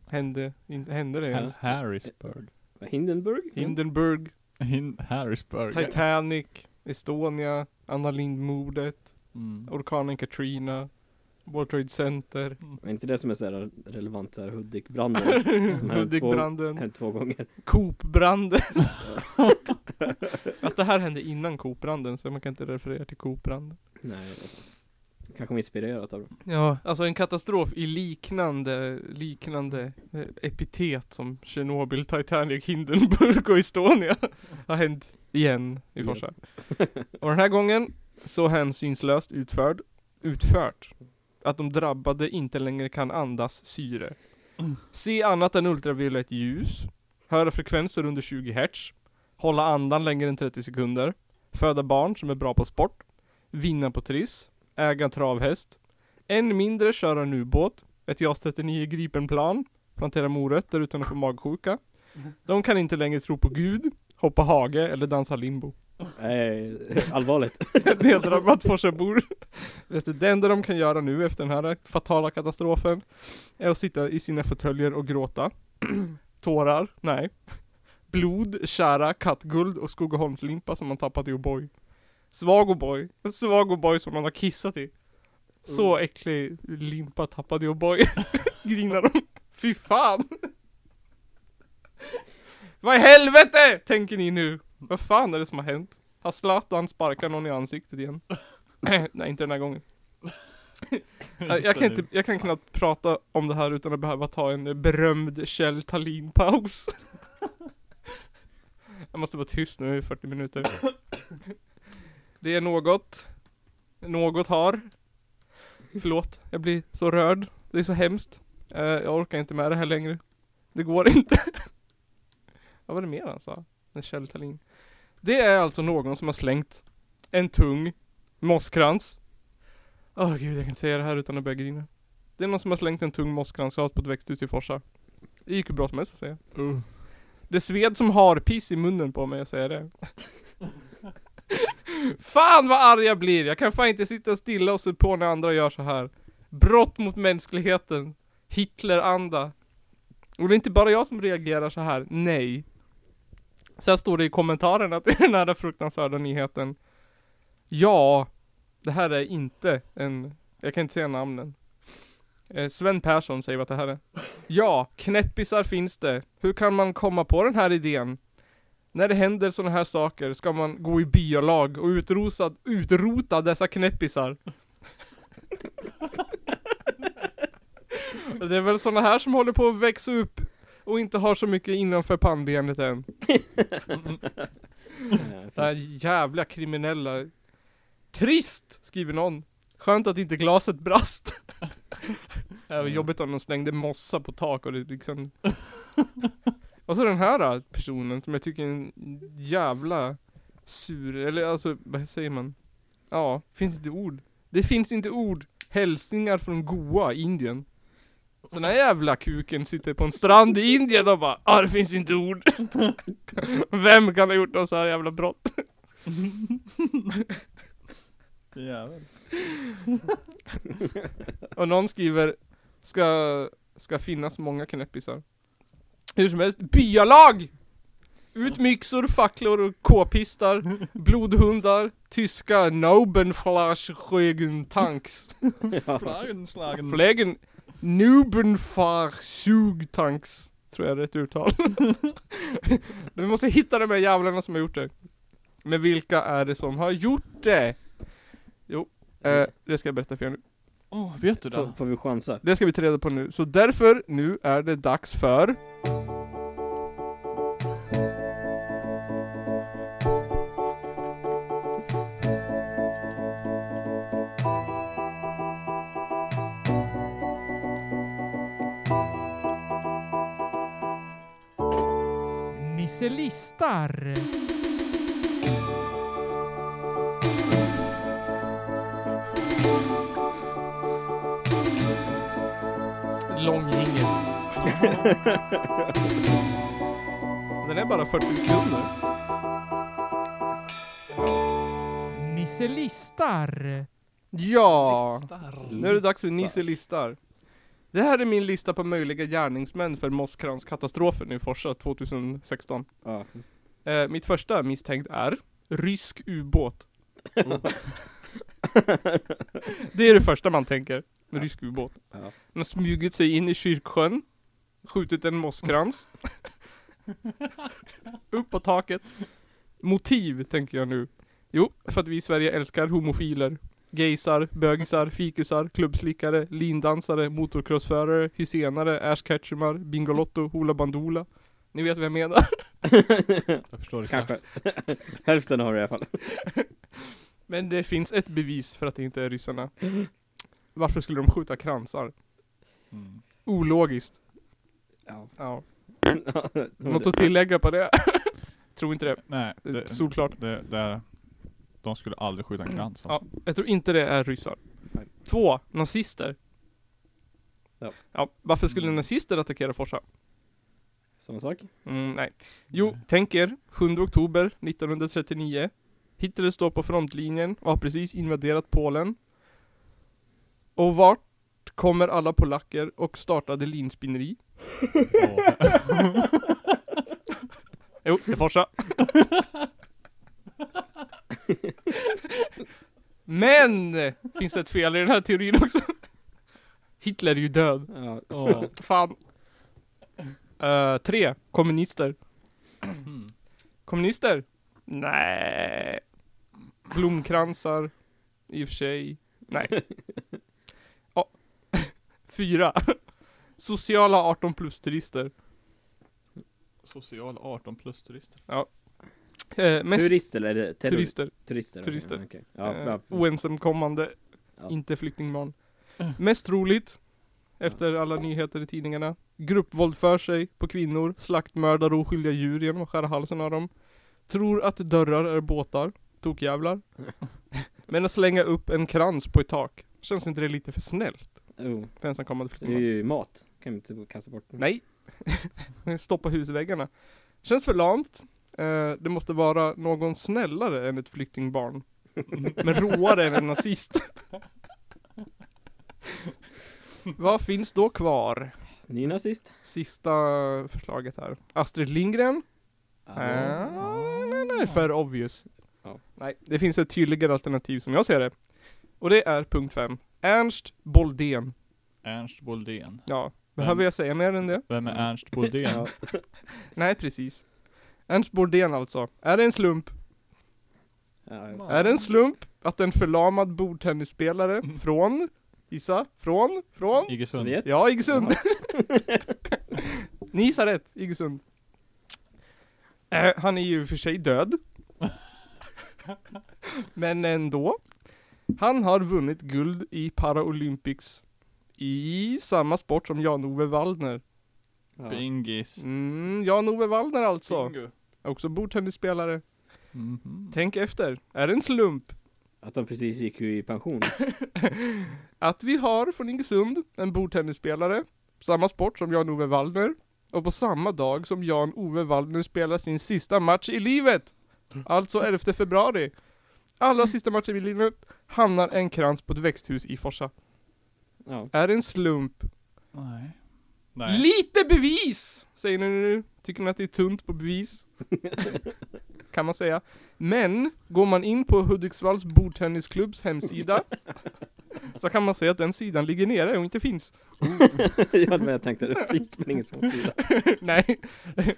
Hände, inte, hände det ens?
Harrisburg.
Hindenburg?
Hindenburg,
In Harrisburg.
Titanic, Estonia, Anna Lindh-mordet,
Mm.
orkanen Katrina, World Trade Center,
Är inte det som är så här relevant så här Hudik-branden? Som hände två,
Hudik-branden,
hänt två gånger.
Coop-branden. Att det här hände innan Coop-branden, så man kan inte referera till Coop-branden.
Nej, jag vet inte. Kanske var inspirerat av det.
Ja, alltså en katastrof i liknande, liknande eh, epitet som Tjernobyl, Titanic, Hindenburg och Estonia har hänt igen i Forsa. Och den här gången så hänsynslöst utförd, utfört att de drabbade inte längre kan andas syre. Se annat än ultraviolett ljus, höra frekvenser under 20 hertz, hålla andan längre än 30 sekunder, föda barn som är bra på sport, vinna på triss, äga en travhäst, en mindre köra en ubåt, ett JAS 39 Gripenplan, plantera morötter utan att få magsjuka. De kan inte längre tro på Gud, hoppa hage eller dansa limbo.
Nej, allvarligt.
Det är drabbat Forsabor. Vet du, Det enda de kan göra nu efter den här fatala katastrofen är att sitta i sina fåtöljer och gråta. Tårar? Nej. Blod, kära, kattguld och Skogaholmslimpa som man tappat i O'boy. Svag O'boy. En svag O'boy som man har kissat i. Så äcklig limpa tappade jag boy. Grinar de. Fy fan. Vad i helvete tänker ni nu? Vad fan är det som har hänt? Har Zlatan sparkat någon i ansiktet igen? Nej, inte den här gången. Jag jag kan, inte, jag kan knappt prata om det här utan att behöva ta en berömd Kjell Thalin-paus. Jag måste vara tyst nu i 40 minuter. Det är något. Något har. Förlåt, jag blir så rörd. Det är så hemskt. Eh, jag orkar inte med det här längre. Det går inte. Vad var det mer han sa? Den Kjell Thalin. Det är alltså någon som har slängt en tung mosskrans. Åh gud, jag kan inte säga det här utan att börja grina. Det är någon som har slängt en tung mosskransglas på ett växthus i Forsa. Det gick ju bra som helst att säga.
Uh.
Det sved som har piss i munnen på mig att säga det. fan vad arg jag blir! Jag kan fan inte sitta stilla och se på när andra gör så här. Brott mot mänskligheten. Hitleranda. Och det är inte bara jag som reagerar så här. Nej. Sen står det i kommentarerna till den här fruktansvärda nyheten. Ja, det här är inte en... Jag kan inte säga namnen. Eh, Sven Persson säger vad det här är. Ja, knäppisar finns det. Hur kan man komma på den här idén? När det händer sådana här saker ska man gå i byalag och utrosa, utrota dessa knäppisar. Det är väl sådana här som håller på att växa upp och inte har så mycket innanför pannbenet än.
Nej,
Det här
fan.
jävla kriminella. Trist, skriver någon. Skönt att inte glaset brast. Det var jobbigt om de slängde mossa på tak och det liksom... Och så den här äh, personen som jag tycker är en jävla sur, eller alltså vad säger man? Ja, finns inte ord. Det finns inte ord. Hälsningar från Goa, Indien. Så den här jävla kuken sitter på en strand i Indien och bara ah, det finns inte ord. Vem kan ha gjort något så här jävla brott?
Jävel.
Och någon skriver Ska, ska finnas många knäppisar Hur som helst, byalag! Ut med yxor, facklor och k-pistar Blodhundar Tyska Nobenflaschsjögentanks
Flagenslagen.
Flägen Nobenfarsugtanks Tror jag är rätt uttal Vi måste hitta de här jävlarna som har gjort det Men vilka är det som har gjort det? Jo, eh, det ska jag berätta för er nu
Åh, vet du
Får,
det?
får vi chansa?
det ska vi ta reda på nu. Så därför, nu är det dags för...
Nisse listar.
Lång jingel. Den är bara 40 sekunder.
Nisse listar.
Ja!
Listar.
Nu är det dags för Nisse listar. Det här är min lista på möjliga gärningsmän för Mosskrantz-katastrofen i Forsa 2016.
Ja.
Eh, mitt första misstänkt är rysk ubåt.
Mm.
det är det första man tänker. Rysk ubåt.
Ja.
Den har smugit sig in i kyrksjön, skjutit en mosskrans, upp på taket. Motiv tänker jag nu. Jo, för att vi i Sverige älskar homofiler. Gaysar, bögisar, fikusar, klubbslickare, lindansare, motocrossförare, hysenare, ashcatchumar, bingolotto, hoola bandoola. Ni vet vad jag menar.
Jag förstår exakt.
Kanske. Hälften har det i alla fall.
Men det finns ett bevis för att det inte är ryssarna. Varför skulle de skjuta kransar?
Mm.
Ologiskt.
Ja.
Ja. Något att tillägga på det? Tror inte det. Eh,
Nej, det,
Solklart.
det, det är, de skulle aldrig skjuta en krans
Ja,
alltså.
jag tror inte det är ryssar.
Nej.
Två, nazister.
Ja.
varför skulle
Mm.
nazister attackera Forsa?
Samma sak.
Mm, nej. Jo,
Nej.
tänk er 7 oktober 1939. Hitler står på frontlinjen och har precis invaderat Polen. Och vart kommer alla polacker och startade linspinneri?
Åh,
Jo, det är Forsa. Men! Finns det ett fel i den här teorin också? Hitler är ju död.
Ja.
åh.
Fan. Eh, tre. Kommunister.
Mm.
Kommunister? Nej. Blomkransar. I och för sig. Nej. Ja. Fyra. Sociala 18 plus turister.
Social 18 plus turister.
Eh, mest
Turister eller terror-
turister.
turister?
Turister.
okej, okej. Ja,
eh,
ja.
oensamkommande,
Ja.
inte flyktingbarn. Mest troligt, efter alla nyheter i tidningarna, gruppvåld för sig på kvinnor, slaktmördar och oskyldiga djur genom att skära halsen av dem. Tror att dörrar är båtar, tokjävlar. Men att slänga upp en krans på ett tak, känns inte det lite för snällt
Jo,
för ensamkommande
Oh, det är
flyktingbarn?
ju mat. Kan vi inte kasta bort.
Mm. Nej! Stoppa husväggarna. Känns för lamt. Eh, det måste vara någon snällare än ett flyktingbarn. Men råare än en nazist. Vad finns då kvar?
Ny nazist.
Sista förslaget här. Astrid Lindgren? Eh. Ah, nej, nej, för obvious.
Ja.
Nej, det finns ett tydligare alternativ som jag ser det. Och det är punkt 5. Ernst Boldén.
Ernst Boldén.
Ja, behöver
Vem?
jag säga mer än det?
Vem är Ernst Boldén?
Ja.
Nej, precis. Ernst Boldén alltså. Är det en slump?
Ja, ja.
Är det en slump att en förlamad bordtennisspelare från, gissa, från, från?
Iggesund.
Sovjet.
Ja, Iggesund. Ni gissar rätt, Iggesund. Eh, han är ju i och för sig död. Men ändå. Han har vunnit guld i Paralympics. I samma sport som Jan-Ove Waldner.
Ja.
Bingis.
Mm, Jan-Ove Waldner alltså.
Bingo.
Också bordtennisspelare.
Mhm.
Tänk efter. Är det en slump
Att han precis gick ju i pension.
att vi har från Ingesund en bordtennisspelare, samma sport som Jan-Ove Waldner, och på samma dag som Jan-Ove Waldner spelar sin sista match i livet, alltså 11 februari. Allra sista matchen i livet hamnar en krans på ett växthus i Forsa.
Ja.
Är det en slump?
Nej. Nej.
Lite bevis! Säger ni nu. Tycker ni att det är tunt på bevis? kan man säga. Men, går man in på Hudiksvalls bordtennisklubbs hemsida så kan man se att den sidan ligger nere och inte finns.
jag hade med tänkt att det finns väl ingen sån tid.
Nej,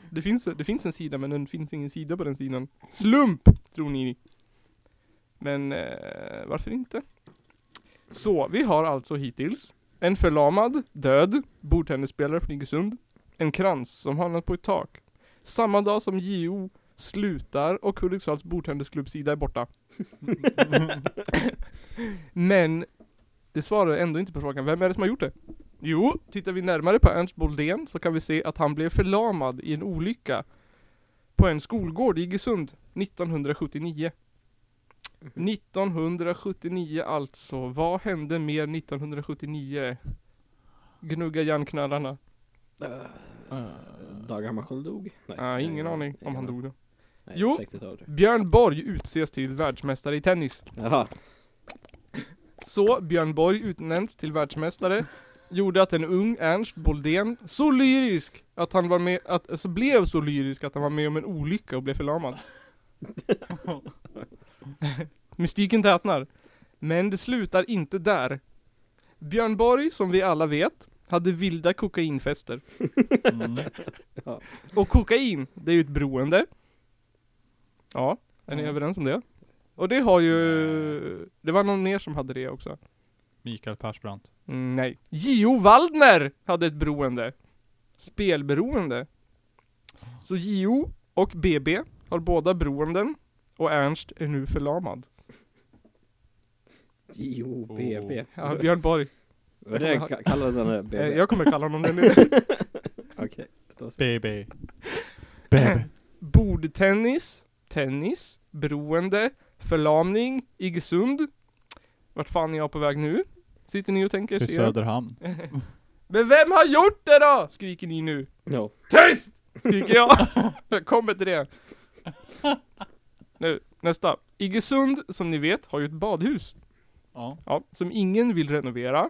det finns, det finns en sida men det finns ingen sida på den sidan. Slump, tror ni. Men eh, varför inte? Så, vi har alltså hittills en förlamad, död bordtennisspelare från Iggesund, en krans som hamnat på ett tak. Samma dag som JO slutar och Hudiksvalls bordtennisklubbsida är borta. Men det svarar ändå inte på frågan, vem är det som har gjort det? Jo, tittar vi närmare på Ernst Boldén så kan vi se att han blev förlamad i en olycka på en skolgård i Iggesund 1979. 1979 alltså. Vad hände mer 1979? Gnugga järnknallarna.
Eh,
Eh,
Dag Hammarskjöld dog? Nej, Eh,
Ah, ingen aning om han dog då.
Nej,
Jo.
60-talet.
Björn Borg utses till världsmästare i tennis.
Jaha.
Så Björn Borg utnämns till världsmästare gjorde att en ung Ernst Boldén, så lyrisk att han var med, att, alltså blev så lyrisk att han var med om en olycka och blev förlamad. Mystiken tätnar. Men det slutar inte där. Björn Borg, som vi alla vet, hade vilda kokainfester.
Mm.
Och kokain, det är ju ett beroende. Ja, är ni
Ja.
överens om det? Och det har ju... Det var någon mer som hade det också.
Mikael Persbrandt.
Mm, nej. Gio Waldner hade ett beroende. Spelberoende. Så Gio och BB har båda beroenden. Och Ernst är nu förlamad.
J-O-B-B.
Oh. Ja, Eh, Björn Borg.
Vad är det ka- kallades han det?
Eh,
BB?
jag kommer kalla honom det nu.
Okej.
BB. BB.
Bordtennis, tennis, beroende, förlamning, Iggesund. Vart fan är jag på väg nu? Sitter ni och tänker?
Till
ser jag.
Söderhamn.
Men vem har gjort det då? Skriker ni nu.
Ja.
Tyst! Skriker jag. Jag kommer till det. Nu, nästa. Iggesund, som ni vet, har ju ett badhus.
Ja.
Ja, som ingen vill renovera.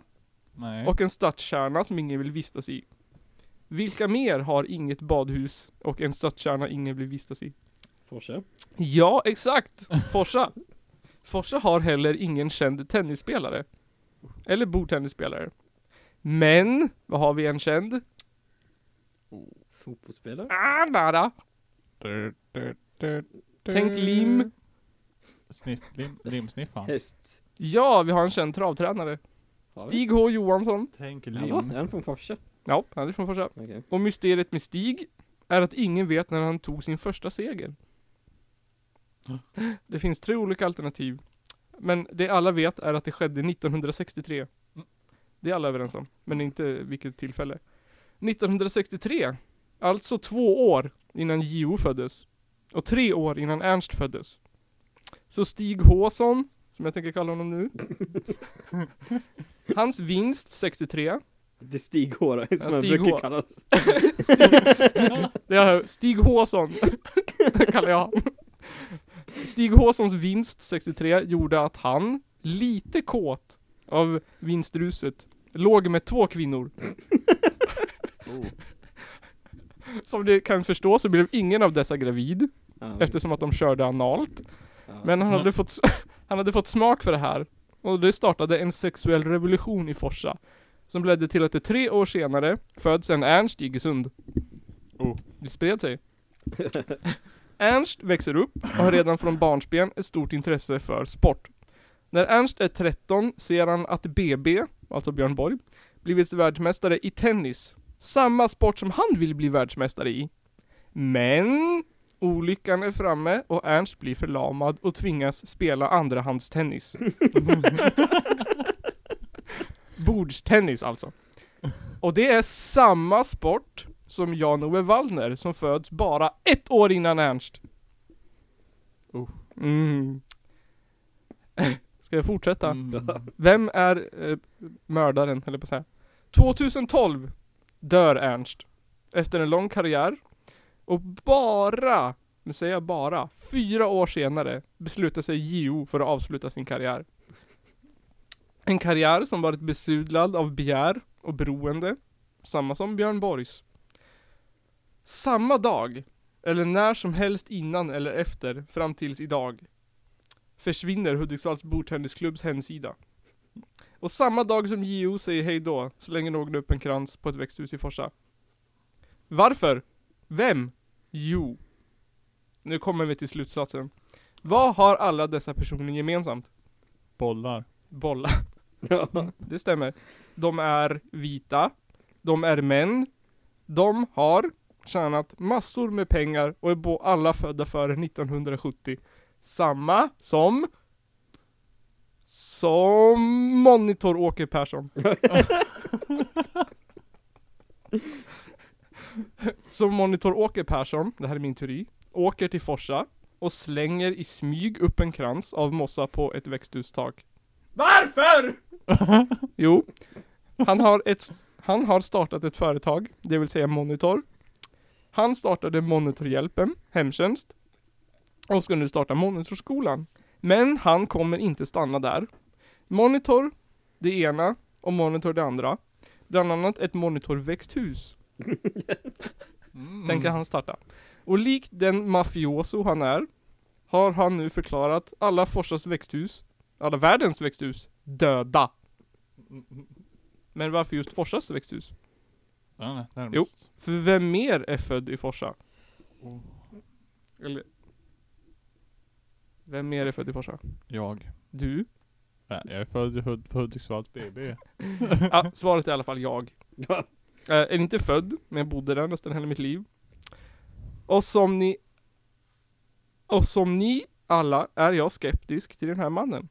Nej.
Och en stadskärna som ingen vill vistas i. Vilka mer har inget badhus och en stadskärna ingen vill vistas i?
Forsa.
Ja, exakt! Forsa. Forsa har heller ingen känd tennisspelare. Eller bordtennisspelare. Men, vad har vi en känd?
Fotbollsspelare.
Ah, nära.
Du, du, du, du.
Tänk lim.
Sniff, lim, limsniffaren.
Häst.
Ja, vi har en känd travtränare.
Har vi?
Stig H Johansson.
Tänk
Ja, va?
Mm.
lim.
Är han från Forsa?
Ja, han är från Forsa.
Okej.
Och mysteriet med Stig är att ingen vet när han tog sin första seger. Det finns tre olika alternativ. Men det alla vet är att det skedde 1963. Det är alla överens om, men inte vilket tillfälle. 1963, alltså två år innan Gio föddes. Och tre år innan Ernst föddes. Så Stig Håsson, som jag tänker kalla honom nu. Hans vinst 63.
Det är Stig H då, som
Ja,
han
Stig
brukar
H.
kallas.
Det är Stig Håsson, kallar jag han. Stig Håssons vinst 63 gjorde att han, lite kåt av vinstruset, låg med två kvinnor. Oh. Som ni kan förstå så blev ingen av dessa gravid,
Ja,
eftersom att de körde analt.
ja.
Men han hade fått, han hade fått smak för det här. Och det startade en sexuell revolution i Forsa. Som ledde till att det tre år senare föds en Ernst i Iggesund.
Oh.
Det spred sig. Ernst växer upp och har redan från barnsben ett stort intresse för sport. När Ernst är 13 ser han att BB, alltså Björn Borg, blivit världsmästare i tennis. Samma sport som han vill bli världsmästare i. Men olyckan är framme och Ernst blir förlamad och tvingas spela andrahandstennis. Bordstennis alltså. Och det är samma sport som Jan-Ove Wallner som föds bara ett år innan Ernst.
Oh.
Mm. Ska jag fortsätta?
Mm.
Vem är eh, mördaren, eller på att säga. 2012 dör Ernst. Efter en lång karriär. Och bara, nu säger jag bara, fyra år senare beslutar sig Gio för att avsluta sin karriär. En karriär som varit besudlad av begär och beroende. Samma som Björn Borgs. Samma dag, eller när som helst innan eller efter, fram tills idag, försvinner Hudiksvalls bordtennisklubbs hemsida. Och samma dag som JO säger hej då slänger någon upp en krans på ett växthus i Forsa. Varför? Vem? Jo. Nu kommer vi till slutsatsen. Vad har alla dessa personer gemensamt?
Bollar.
Bolla.
Ja.
Mm, Det stämmer. De är vita. De är män. De har tjänat massor med pengar och är bo- alla födda före 1970. Samma som... Som Monitor-Åke Persson. som Monitor-Åke Persson, det här är min teori, åker till Forsa och slänger i smyg upp en krans av mossa på ett växthustak. Varför? Jo, han har, ett, han har startat ett företag, det vill säga Monitor. Han startade Monitorhjälpen, hemtjänst, och ska nu starta Monitorskolan. Men han kommer inte stanna där. Monitor, det ena, och monitor det andra. Bland annat ett monitorväxthus
Mm.
tänker han starta. Och likt den mafioso han är, har han nu förklarat alla Forsas växthus, alla världens växthus, döda. Men varför just Forsas växthus?
Ja, nej, närmast.
Jo. För vem mer är född i Forsa?
Oh.
Eller... Vem mer är född i Forsa?
Jag.
Du?
Nej, jag är född i Hud- på Hudiksvalls BB.
Ah, svaret är i alla fall jag.
Ja.
Eh, är inte född, men jag bodde där nästan hela mitt liv. Och som ni... Och som ni alla är jag skeptisk till den här mannen.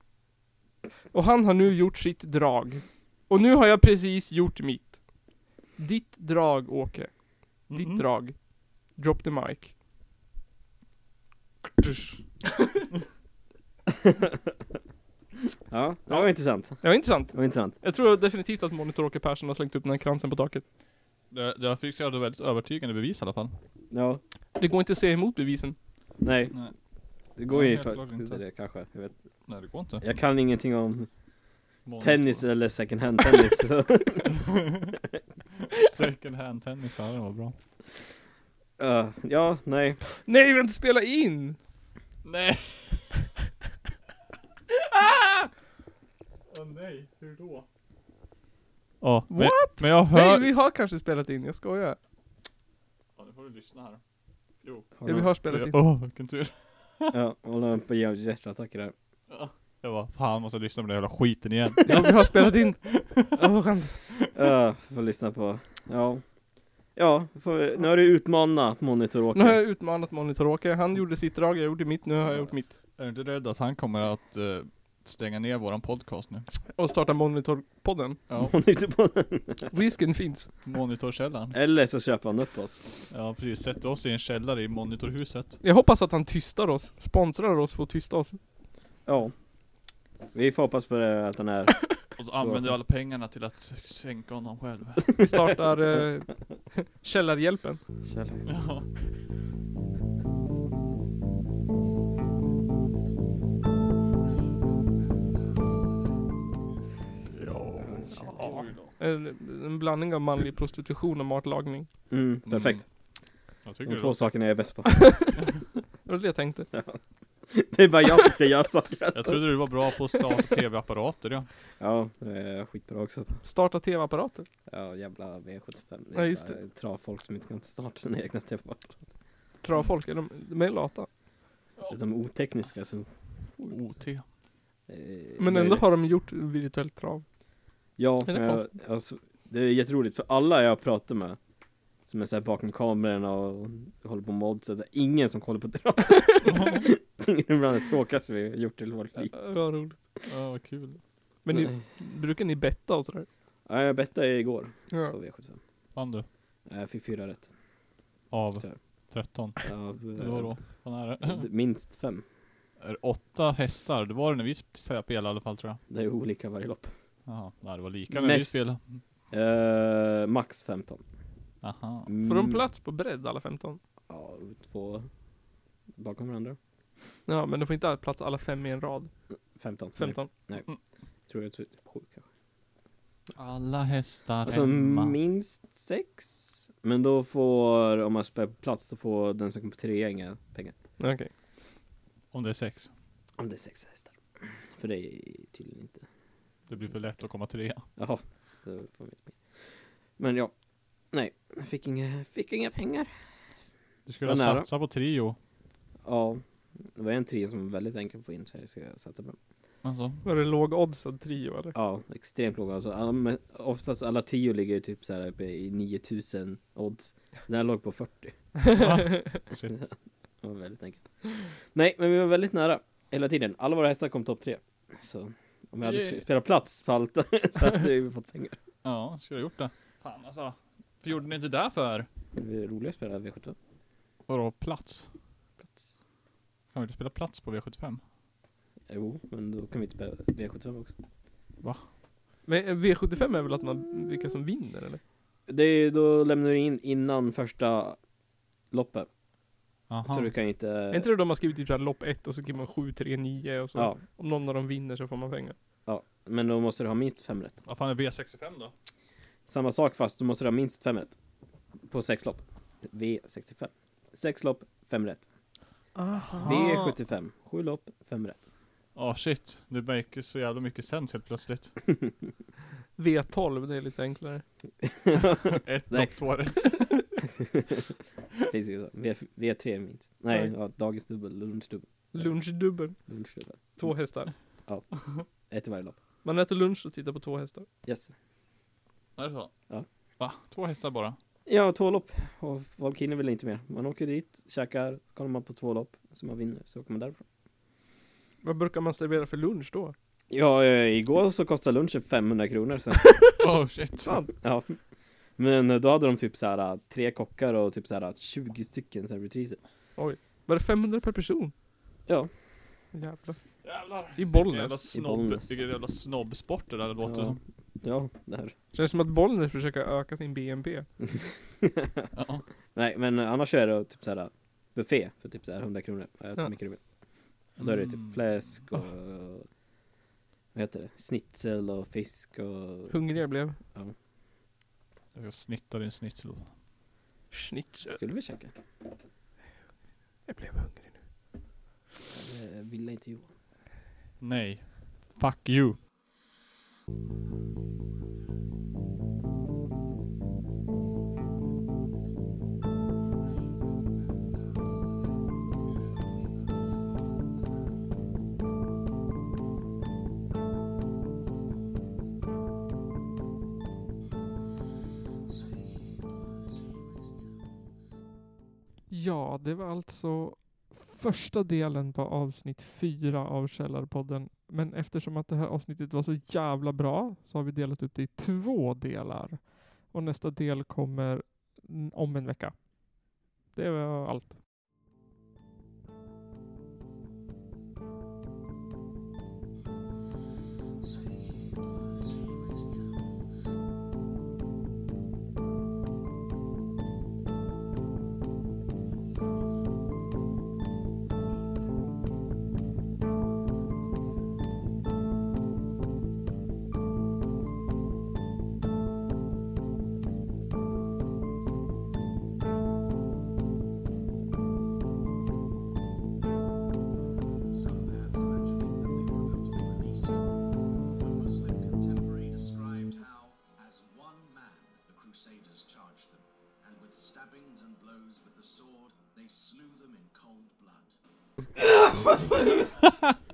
Och han har nu gjort sitt drag. Och nu har jag precis gjort mitt. Ditt drag, Åke. Ditt
Mm.
drag. Drop the mic.
ja, det var intressant.
Det var intressant.
Det var intressant.
Jag tror definitivt att Monitor Åke Persson har slängt upp den här kransen på taket.
Det, det jag fick jag hade väldigt övertygande bevis i alla fall.
Ja,
Det går inte att se emot bevisen.
nej.
Nej.
Det går ju
Nej, helt klart
faktiskt inte
inte.
det kanske. Jag, vet.
Nej, det går inte.
jag kan ingenting om
Monitor.
tennis eller second hand tennis. så-
Second hand tennis, ja det var bra.
Ja, ja, nej.
Nej, vi har inte spelat in!
Nej! Åh nej, hur då? Ja, men, men jag hör...
Nej, vi har kanske spelat in. Jag skojar.
Ja, nu får du lyssna här. Jo.
Ja, vi har spelat in.
Åh, vilken tur.
Ja, håller på att ge hjärtattacker här.
Jag bara, fan måste jag lyssna på den jävla skiten igen.
Ja, vi har spelat in. Åh, han-
Ja, får lyssna på. Ja. Ja, får, nu har du utmanat monitor
Nu har
Åke.
jag utmanat Monitor-Åke. Han gjorde sitt drag, jag gjorde mitt, nu har jag gjort mitt.
Är du inte rädd att han kommer att eh, stänga ner våran podcast nu?
Och starta Monitor-podden.
Ja,
Monitor på
Risken finns.
monitorkällaren.
Eller så köper han upp oss.
Ja precis, sätt oss i en källare i monitorhuset.
Jag hoppas att han tystar oss, sponsrar oss för att tysta oss.
Ja. Vi får hoppas på det, att han är...
Och så
Så.
använder vi alla pengarna till att sänka honom själv.
Vi startar eh, Källarhjälpen.
Kjell.
Ja. Oj då.
En, en blandning av manlig prostitution och matlagning.
Mm, perfekt.
Jag
De
tycker
två
det.
sakerna jag är bäst på.
Det var det jag tänkte.
Det är bara jag som ska göra saker.
Jag trodde du var bra på att starta tv-apparater ja.
Ja, det är skitbra också.
Starta tv-apparater.
Ja, jävla V75.
Ja, just det.
Jävla Travfolk som inte kan starta sina egna tv-apparater.
Travfolk, är de, de är lata.
De är otekniska som... eh,
OT.
Men ändå har de gjort virtuellt trav.
Ja,
Är det
men jag,
konstigt?
alltså, det är jätteroligt för alla jag pratar med som är såhär bakom kamerorna och håller på mod så det är ingen som kollar på drama. Ingen bland det tråkigaste vi har gjort i vårt liv.
Det var roligt.
Ja vad kul.
Men ni,
Nej.
brukar ni betta och sådär?
Ja, jag bettade igår på
Ja.
V75.
Vann du?
Jag fick fyra rätt.
Av
Tyvärr.
13.
Av,
Det var då. Vad är det?
eh, Minst fem.
Är det Åtta hästar, det var det när vi spelade i alla fall tror jag.
Det är olika varje lopp.
Jaha, nej det var lika när vi
Mest-
spelade.
Eh, max 15.
Aha.
Får de
Mm,
plats på bredd alla 15?
Ja, två bakom varandra.
Ja, men de får inte plats alla fem i en rad.
15.
15.
Nej, tror jag tror typ sju kanske.
Alla hästar
Alltså
hemma.
minst sex. Men då får, om man spär på plats, då får den som kommer trea inga pengar.
Okej.
Om det är sex.
Om det är sex hästar. För det är tydligen inte.
Det blir för lätt att komma trea.
Jaha. Då får man inte pengar. Men ja. Nej, jag fick inga, fick inga pengar.
Du skulle ha
Vad nära.
satsat på trio.
Ja. Det var en trea som var väldigt enkel att få in så jag ska satsa på den.
Alltså.
Var det lågoddsad trio eller?
Ja, extremt låga. Alltså, alla- men oftast alla tio ligger ju typ så här uppe i 9000 odds. Den här låg på 40.
Shit.
Det var väldigt enkelt. Nej, men vi var väldigt nära hela tiden. Alla våra hästar kom topp tre. Så om vi hade
Yay.
sp- spelat plats på allt så hade vi fått pengar.
Ja, skulle ha gjort det. Fan alltså. Varför gjorde ni inte det för?
Det blir roligare att spela V75.
Vadå plats?
Plats.
Kan vi inte spela plats på V75?
Jo, men då kan vi inte spela V75 också.
Men eh, V75 är väl att man, vilka som vinner eller?
Det är, ju- då lämnar du in innan första loppet.
Aha.
Så Alltså, du kan inte...
Är inte det då man skriver typ såhär lopp 1 och så skriver man 7, 3, 9 och så
Ja,
om någon av dem vinner så får man pengar?
Men då måste du ha minst fem rätt.
Vad fan är V65 då?
Samma sak fast då måste du ha minst fem rätt. På sex lopp. V65. Sex lopp, fem rätt. V75. Sju lopp, fem rätt.
Ah shit, nu make så jävla mycket sens helt plötsligt.
V12, det är lite enklare.
Ett
Nej.
lopp, två rätt.
Finns det så? V, V3 minst. Nej,
Nej.
ja, dagisdubbel, lunchdubbel.
Lunchdubbel.
Lunchdubbel.
Två hästar.
Ett i varje lopp.
Man äter lunch och tittar på två hästar.
Yes.
Är det så?
Ja.
Va? Två hästar bara?
Ja, två lopp. Och folk hinner väl inte mer. Man åker dit, käkar, så kollar man på två lopp. Så man vinner, så åker man därifrån.
Vad brukar man servera för lunch då?
Ja, eh, igår så kostade lunchen 500 kronor. Så.
Oh shit.
Sant.
ja. Men eh, då hade de typ så här eh, tre kockar och typ så här eh, 20 stycken servitriser.
Var det 500 per person?
Ja.
Jävlar.
Jävlar.
I Bollnäs.
Jävla
I
snobb.
Bollnäs.
Vilken jävla snobbsport det där låter
ja.
som.
ja, det här.
Känns som att Bollnäs försöker öka sin BNP.
Ja.
Nej, men eh, annars är det typ så här eh, buffé för typ så här 100 kronor. Jag äter
Ja.
mycket du vill. Och Då är det
Mm.
typ fläsk och vad heter det? Snitsel och fisk och
Hungrig jag blev.
Jag ska snitta din snitsel.
Schnitzel.
skulle vi käka.
Jag blev hungrig nu.
Det ville inte Johan.
Nej. Fuck you.
Ja, det var alltså första delen på avsnitt fyra av Källarpodden. Men eftersom att det här avsnittet var så jävla bra så har vi delat upp det i två delar. Och nästa del kommer mm, om en vecka. Det var allt.
Some maps mentioning that they were about to be released. One Muslim contemporary described how, as one man, the Crusaders charged them, and with stabbings and blows with the sword, they slew them in cold blood.